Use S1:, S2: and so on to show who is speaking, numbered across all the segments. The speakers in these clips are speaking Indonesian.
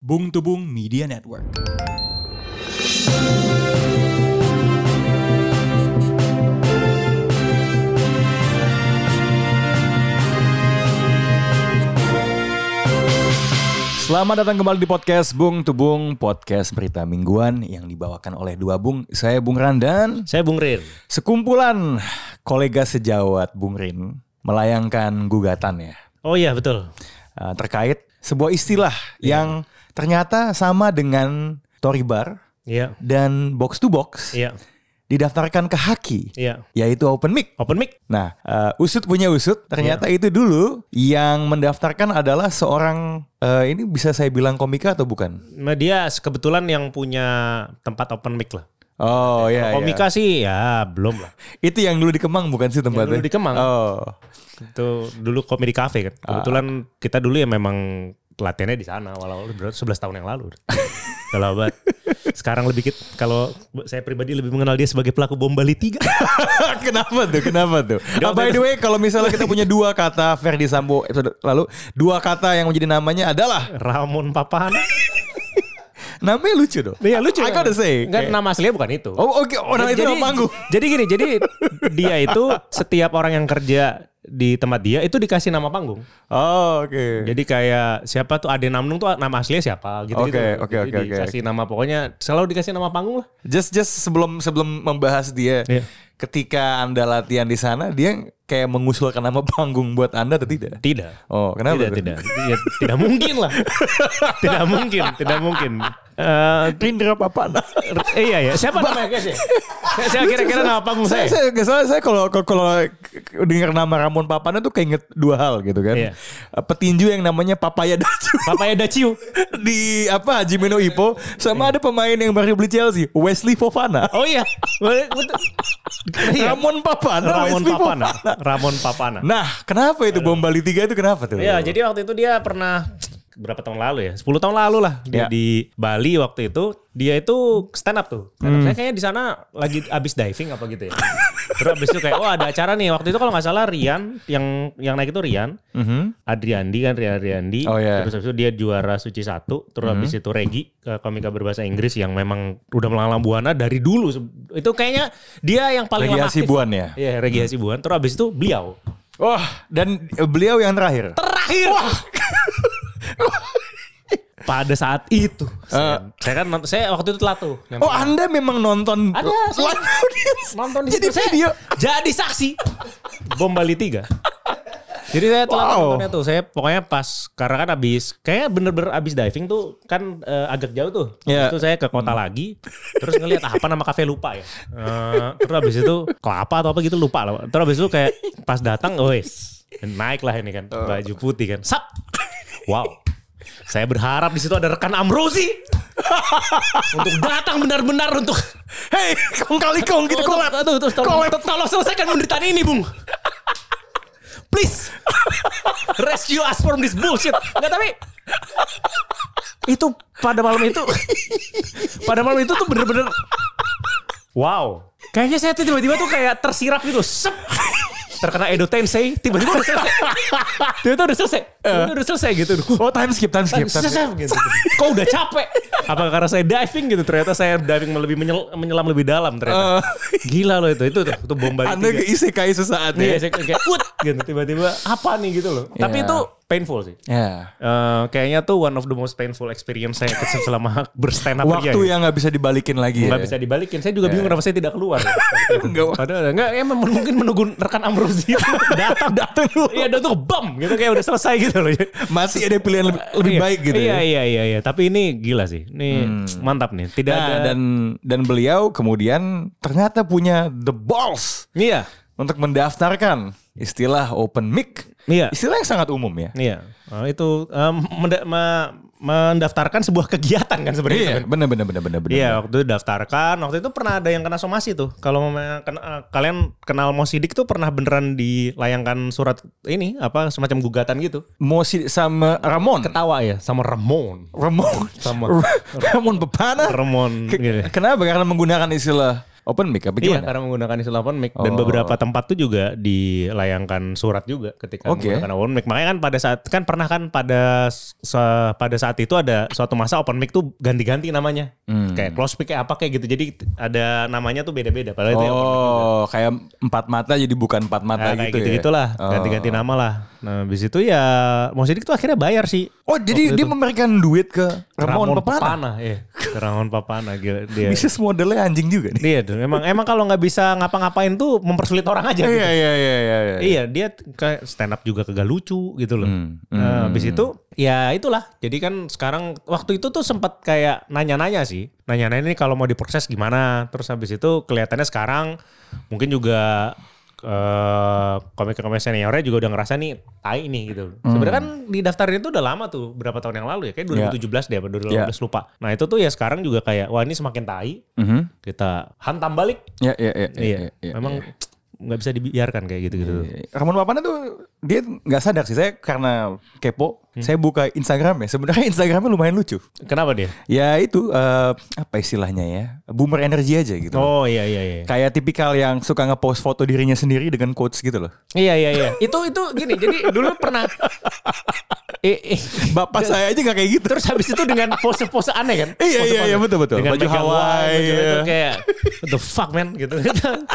S1: Bung Tubung Media Network.
S2: Selamat datang kembali di podcast Bung Tubung, podcast berita mingguan yang dibawakan oleh dua bung. Saya Bung Randan,
S3: Saya Bung Rin.
S2: sekumpulan kolega sejawat Bung Rin melayangkan gugatan ya
S3: Oh iya betul.
S2: eh, terkait sebuah istilah
S3: Iya.
S2: yang ternyata sama dengan Toribar
S3: Iya.
S2: dan box to box
S3: Iya.
S2: didaftarkan ke Haki
S3: Iya.
S2: yaitu open mic.
S3: Open mic.
S2: Nah, eh, usut punya usut, ternyata
S3: Iya.
S2: itu dulu yang mendaftarkan adalah seorang eh, ini bisa saya bilang komika atau bukan?
S3: Nah, Dia kebetulan yang punya tempat open mic lah.
S2: Oh ya.
S3: Komika sih ya belum lah.
S2: Itu yang dulu di Kemang bukan sih tempatnya?
S3: dulu di Kemang.
S2: Oh.
S3: Itu dulu komedi cafe kan. Kebetulan kita dulu ya memang latihannya di sana walau ber- 11 tahun yang lalu. Kalau abad. Sekarang lebih kit- kalau saya pribadi lebih mengenal dia sebagai pelaku bom Bali 3.
S2: kenapa tuh? Kenapa tuh? Ah,
S3: Dia
S2: by the
S3: waktu
S2: way, kalau misalnya kita punya dua kata Ferdi Sambo episode lalu, dua kata yang menjadi namanya adalah
S3: Ramon Papahan.
S2: namanya lucu dong.
S3: Iya lucu.
S2: I gotta say.
S3: Enggak
S2: Kayak-
S3: nama aslinya bukan itu.
S2: Oh, oke. Oh, nama itu nama panggung.
S3: Jadi gini, jadi dia itu setiap orang yang kerja di tempat dia itu dikasih nama panggung.
S2: Oh, oke.
S3: Jadi kayak siapa tuh Ade Namnung tuh nama aslinya siapa gitu gitu.
S2: Oke, oke, oke, oke.
S3: Dikasih nama pokoknya selalu dikasih nama panggung lah.
S2: Just just sebelum sebelum membahas dia,
S3: Iya.
S2: ketika Anda latihan di sana, dia kayak mengusulkan nama panggung buat Anda atau tidak?
S3: Tidak.
S2: Oh, kenapa?
S3: Tidak,
S2: tuh?
S3: tidak. Ya, tidak mungkin lah. tidak mungkin, tidak mungkin. Eh,
S2: Rindra Papana.
S3: r- iya ya, siapa namanya guys ya? Saya- Saya kira-kira nama panggung
S2: saya,
S3: saya.
S2: saya, saya, saya kalau kalau- kalau dengar nama Ramon Papana tuh keinget dua hal gitu kan.
S3: Iya.
S2: Eh, Petinju yang namanya Papaya Dacu
S3: Papaya Daciu.
S2: di apa Haji Meno Ipo
S3: Iya.
S2: sama ada pemain yang baru beli Chelsea Wesley Fofana.
S3: Oh iya. Betul. Iya.
S2: Ramon Papana,
S3: Ramon
S2: Wesley
S3: Papana. Ramon Papana.
S2: Nah, kenapa itu bom Bali 3 itu kenapa tuh?
S3: Iya, jadi waktu itu dia pernah berapa tahun lalu ya? 10 tahun lalu lah dia
S2: Ya.
S3: di Bali waktu itu. Dia itu stand up tuh. Stand
S2: Hmm.
S3: up. Saya kayaknya di sana lagi abis diving apa gitu ya. Terus abis itu kayak oh ada acara nih waktu itu kalau nggak salah Rian yang yang naik itu Rian.
S2: Mhm.
S3: Adriandi kan Rian Adriandi.
S2: Oh, iya. Hmm.
S3: Terus abis itu dia juara suci satu. Terus abis itu Regi eh, komika berbahasa Inggris yang memang udah melanglang buana dari dulu. Itu kayaknya dia yang paling
S2: Regi
S3: lama aktif.
S2: Hasibuan ya?
S3: Iya Regi Hasibuan. Terus abis itu beliau.
S2: Wah, dan eh, beliau yang terakhir.
S3: terakhir. Pada saat itu, saya, saya kan nont- saya waktu itu telat tuh.
S2: Oh, Anda memang nonton
S3: Iya. Ada, saya
S2: live audience.
S3: nonton di
S2: Jadi
S3: situ. Saya
S2: video.
S3: jadi saksi. Bom Bali 3. Jadi saya telat
S2: Wow.
S3: nontonnya tuh. Saya pokoknya pas karena kan abis kayaknya bener-bener abis diving tuh kan eh, agak jauh tuh. Habis
S2: Iya.
S3: itu saya ke kota lagi terus ngelihat apa nama kafe lupa ya. Eh, terus abis itu kelapa atau apa gitu lupa lah. Terus abis itu kayak pas datang oh, wes naik lah ini kan
S2: Oh.
S3: baju putih kan. Sap. Wow. Saya berharap di situ ada rekan Amrozi untuk datang benar-benar untuk
S2: Hey, kong kali kong gitu
S3: Tuh,
S2: kolab.
S3: tuh, tuh, tuh, tolong, tolong selesaikan penderitaan ini, Bung. Please. Rescue us from this bullshit. Enggak, tapi itu pada malam itu pada malam itu tuh bener-bener wow. Kayaknya saya tuh tiba-tiba tuh kayak tersirap gitu. Sep. Terkena Edo Tensei, tiba-tiba udah selesai. Tiba-tiba udah selesai. Tiba-tiba udah selesai gitu.
S2: Oh, time skip, time skip. time skip.
S3: Sesep gitu. Kok udah capek? Apa karena saya diving gitu? Ternyata saya diving lebih menyel- menyelam lebih
S2: Eh.
S3: dalam ternyata. Gila loh itu. Itu tuh, itu bom Bali
S2: Anda ke
S3: tiga.
S2: isekai sesaat ya.
S3: Iya, saya kayak "Wut!" gitu tiba-tiba apa nih gitu loh. Tapi
S2: Iya.
S3: itu painful sih.
S2: Ya.
S3: Eh, kayaknya tuh one of the most painful experience saya kecil selama berstand up
S2: Waktu yang nggak bisa dibalikin lagi.
S3: ya. nggak
S2: ya.
S3: bisa dibalikin. Saya juga bingung kenapa saya tidak keluar.
S2: Nggak.
S3: Padahal enggak ya mem- mungkin menunggu rekan Amrozi datang datang dulu. Iya, datang tuh bam gitu kayak udah selesai gitu loh.
S2: Masih ada pilihan lebih, lebih
S3: Iya.
S2: baik gitu.
S3: Iya,
S2: ya. Hmm.
S3: iya, iya, iya. Tapi ini gila sih. Ini mantap nih. Tidak
S2: Nah,
S3: ada
S2: dan dan beliau kemudian ternyata punya the balls
S3: Iya.
S2: untuk mendaftarkan istilah open mic.
S3: Iya.
S2: Istilah yang sangat umum ya.
S3: Iya. Nah, itu em, menda- ma- mendaftarkan sebuah kegiatan kan sebenarnya.
S2: Iya,
S3: Iya.
S2: benar benar benar benar benar.
S3: waktu itu daftarkan, waktu itu pernah ada yang kena somasi tuh. Kalau memang kena- eh, kalian kenal Mo Sidik tuh pernah beneran dilayangkan surat ini apa semacam gugatan gitu.
S2: Mosi sama Ramon.
S3: Ketawa ya sama Ramon.
S2: Ramon
S3: Sama.
S2: Ramon Pepana
S3: Ramon
S2: Ke-
S3: gitu.
S2: Kenapa? Karena menggunakan istilah Open mic apa
S3: Iya,
S2: gimana?
S3: karena menggunakan istilah open mic dan
S2: Oh.
S3: beberapa tempat tuh juga dilayangkan surat juga ketika
S2: Oke.
S3: menggunakan open mic. Makanya kan pada saat kan pernah kan pada se- pada saat itu ada suatu masa open mic tuh ganti-ganti namanya.
S2: Hmm.
S3: Kayak close mic kayak apa kayak gitu. Jadi ada namanya tuh beda-beda padahal itu ya open mic juga.
S2: Oh, kayak empat mata jadi bukan empat mata
S3: Nah, kayak
S2: gitu ya.
S3: gitu-gitulah,
S2: Oh.
S3: ganti-ganti nama lah. Nah, habis itu ya Mo Sidik tuh akhirnya bayar sih.
S2: Oh, jadi
S3: Waktu
S2: dia
S3: itu.
S2: memberikan duit ke Ramon, Pepana.
S3: Papana, iya. Ke Ramon Papana gila dia.
S2: Bisnis modelnya anjing juga nih.
S3: Dia tuh emang emang kalau nggak bisa ngapa-ngapain tuh mempersulit orang aja. gitu.
S2: Iya, iya, iya, iya. iya.
S3: Iya, dia t- kayak stand up juga kagak lucu gitu loh.
S2: Hmm,
S3: Nah, habis itu ya itulah. Jadi kan sekarang waktu itu tuh sempat kayak nanya-nanya sih. Nanya-nanya ini kalau mau diproses gimana. Terus habis itu kelihatannya sekarang mungkin juga eh komik-komik seniornya juga udah ngerasa nih tai nih gitu.
S2: Hmm.
S3: Sebenarnya kan didaftarin itu udah lama tuh, berapa tahun yang lalu ya? Kayak 2017 deh, apa 2018 lupa. Nah, itu tuh ya sekarang juga kayak wah ini semakin tai.
S2: Mhm.
S3: Kita hantam balik.
S2: Iya, iya, iya. iya,
S3: Iya.
S2: iya,
S3: Memang nggak bisa dibiarkan kayak gitu-gitu. tuh.
S2: iya. Ramon Papana tuh dia nggak sadar sih saya karena kepo
S3: Hmm.
S2: saya buka Instagram ya sebenarnya Instagramnya lumayan lucu
S3: Kenapa dia?
S2: ya itu eh, apa istilahnya ya boomer energi aja gitu
S3: Oh iya iya iya.
S2: kayak tipikal yang suka ngepost foto dirinya sendiri dengan quotes gitu loh
S3: Iya iya iya. itu itu gini. Jadi dulu pernah eh, eh,
S2: bapak saya aja nggak kayak gitu
S3: terus habis itu dengan pose-pose aneh kan?
S2: Iya, iya, iya, betul, betul.
S3: Dengan
S2: Baju
S3: baju Hawaii,
S2: Hawaii,
S3: baju itu
S2: iya.
S3: kayak what the fuck man gitu.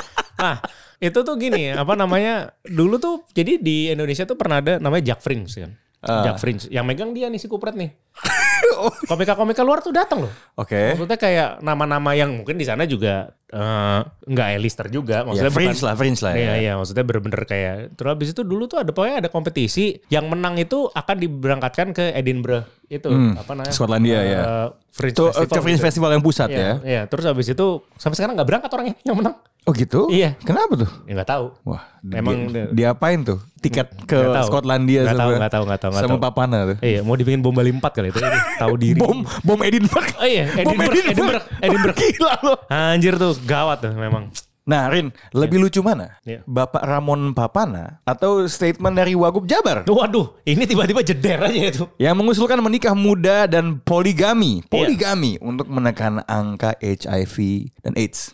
S3: nah, itu tuh gini, apa namanya? Dulu tuh jadi di Indonesia tuh pernah ada namanya Jack Fringe kan.
S2: Ah.
S3: Jack Fringe yang megang dia nih si Kupret nih.
S2: Oh. Eh?
S3: Komika-komika luar tuh datang loh.
S2: oke
S3: Maksudnya kayak nama-nama yang mungkin di sana juga eh, nggak elister juga.
S2: ya
S3: Maksudnya bukan-
S2: fringe lah fringe lah
S3: Iya
S2: ya
S3: iya maksudnya bener-bener kayak terus habis itu dulu tuh ada pokoknya ada kompetisi yang menang itu akan diberangkatkan ke Edinburgh itu apa namanya
S2: Hmm, Skotlandia,
S3: Eh,
S2: ya.
S3: Fringe
S2: itu eh,
S3: Festival
S2: ke fringe
S3: gitu.
S2: festival yang pusat
S3: Iya,
S2: ya
S3: iya. terus habis itu sampai sekarang nggak berangkat orangnya yang menang
S2: oh gitu
S3: Iya.
S2: kenapa tuh
S3: ya nggak tahu
S2: Wah,
S3: Emang
S2: dia,
S3: dia-
S2: diapain tuh? Tiket ke
S3: Nggak tahu.
S2: Skotlandia
S3: Nggak
S2: sama
S3: tahu, nggak tahu, nggak tahu, nggak
S2: sama
S3: tahu.
S2: Papana tuh.
S3: iya mau dibikin bom Bali 4 kali itu Ini tahu diri
S2: Bom bom Edinburgh.
S3: oh iya
S2: Bom
S3: Edinburgh Edinburgh Edinburgh
S2: Gila loh.
S3: anjir tuh gawat tuh memang
S2: Nah, Rin, lebih lucu mana?
S3: Iya.
S2: Bapak Ramon Papana atau statement dari Wagub Jabar?
S3: waduh ini tiba-tiba jeder aja itu
S2: Yang mengusulkan menikah muda dan poligami,
S3: Iya.
S2: poligami untuk menekan angka HIV dan AIDS.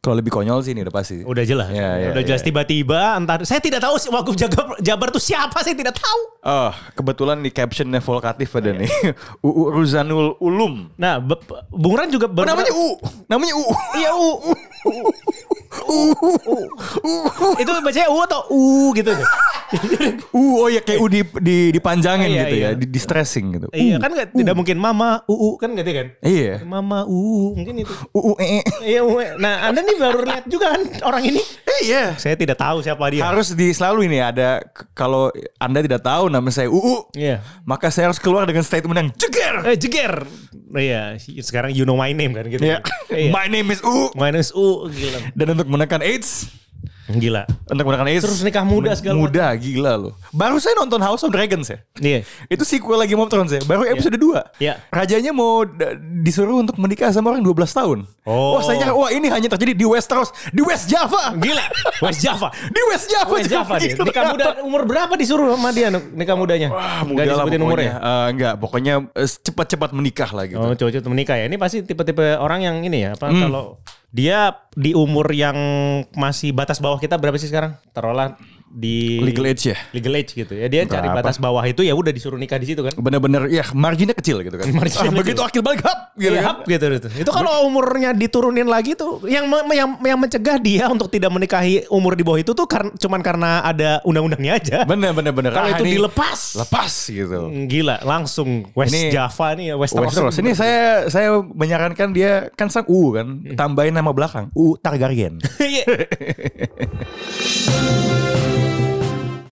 S2: Kalau lebih konyol sih ini udah pasti.
S3: udah jelas
S2: Ya, ya,
S3: udah jelas
S2: ya.
S3: tiba-tiba entar saya tidak tahu si Wagub Jabar, Jabar tuh siapa saya tidak tahu
S2: Oh, kebetulan di captionnya vokatif ada
S3: Iya.
S2: nih. UU Ruzanul Ulum.
S3: Nah, Be- Bung Ran
S2: Oh,
S3: juga baru
S2: namanya U. Namanya U. Iya U.
S3: itu bacanya U atau U gitu.
S2: U oh ya kayak U di, di dipanjangin
S3: Iya,
S2: gitu ya,
S3: iya.
S2: di, di stressing gitu.
S3: Iya kan nggak- tidak mungkin Mama UU kan gitu kan?
S2: Iya.
S3: Mama UU mungkin itu.
S2: U U E. E.
S3: Iya, U. nah Anda nih baru lihat juga kan orang ini.
S2: Iya.
S3: Saya tidak tahu siapa dia.
S2: Harus di selalu ini ada k- kalau Anda tidak tahu nama saya UU,
S3: Iya.
S2: maka saya harus keluar dengan statement yang ceger.
S3: Eh jeger. Iya, sekarang you know my name kan gitu.
S2: Iya.
S3: Iya.
S2: My name is UU.
S3: My name is U gila.
S2: Dan untuk menekan AIDS,
S3: Gila.
S2: untuk menekan AIDS
S3: Terus nikah
S2: men-
S3: muda segala
S2: Muda gila loh. Baru saya nonton House of Dragons ya.
S3: Iya.
S2: Itu sequel lagi Game of Thrones ya. Baru episode 2.
S3: Iya.
S2: Rajanya mau d- disuruh untuk menikah sama orang 12 tahun.
S3: Oh.
S2: Wah, saya nyangka, wah ini hanya terjadi di Westeros, di West Java.
S3: Gila. West Java.
S2: Di West Java. gitu.
S3: West Java dia.
S2: Gila.
S3: Nikah muda umur berapa disuruh sama dia nikah mudanya?
S2: Ah,
S3: Wah,
S2: muda lah pokoknya. Eh, enggak, pokoknya eh, cepat-cepat menikah lah gitu. Hmm.
S3: Oh, cowok-cowok temen nikah ya. Ini pasti tipe-tipe orang yang ini ya, apa kalau dia di umur yang masih batas bawah kita berapa sih sekarang? Taruhlah di
S2: Legal age ya?
S3: Legal age gitu ya. Dia cari
S2: Berapa?
S3: batas bawah itu ya udah disuruh nikah di situ kan.
S2: Bener-bener, ya marginnya kecil gitu kan. Ah,
S3: Marginnya kecil.
S2: begitu akil balik, hap! Gitu
S3: Ya,
S2: kan.
S3: gitu, gitu. Itu kalau umurnya diturunin lagi tuh yang me- me- yang, yang mencegah dia untuk tidak menikahi umur di bawah itu tuh karena cuman karena ada undang-undangnya aja.
S2: Bener, bener, bener.
S3: Kalau
S2: Ah,
S3: itu
S2: ini
S3: dilepas.
S2: Lepas gitu.
S3: Gila, langsung West
S2: Ini-
S3: Java nih ya, Westeros.
S2: Westeros. Ini saya saya Hmm. menyarankan dia kan sang U kan, tambahin nama belakang U Targaryen.
S3: Iya.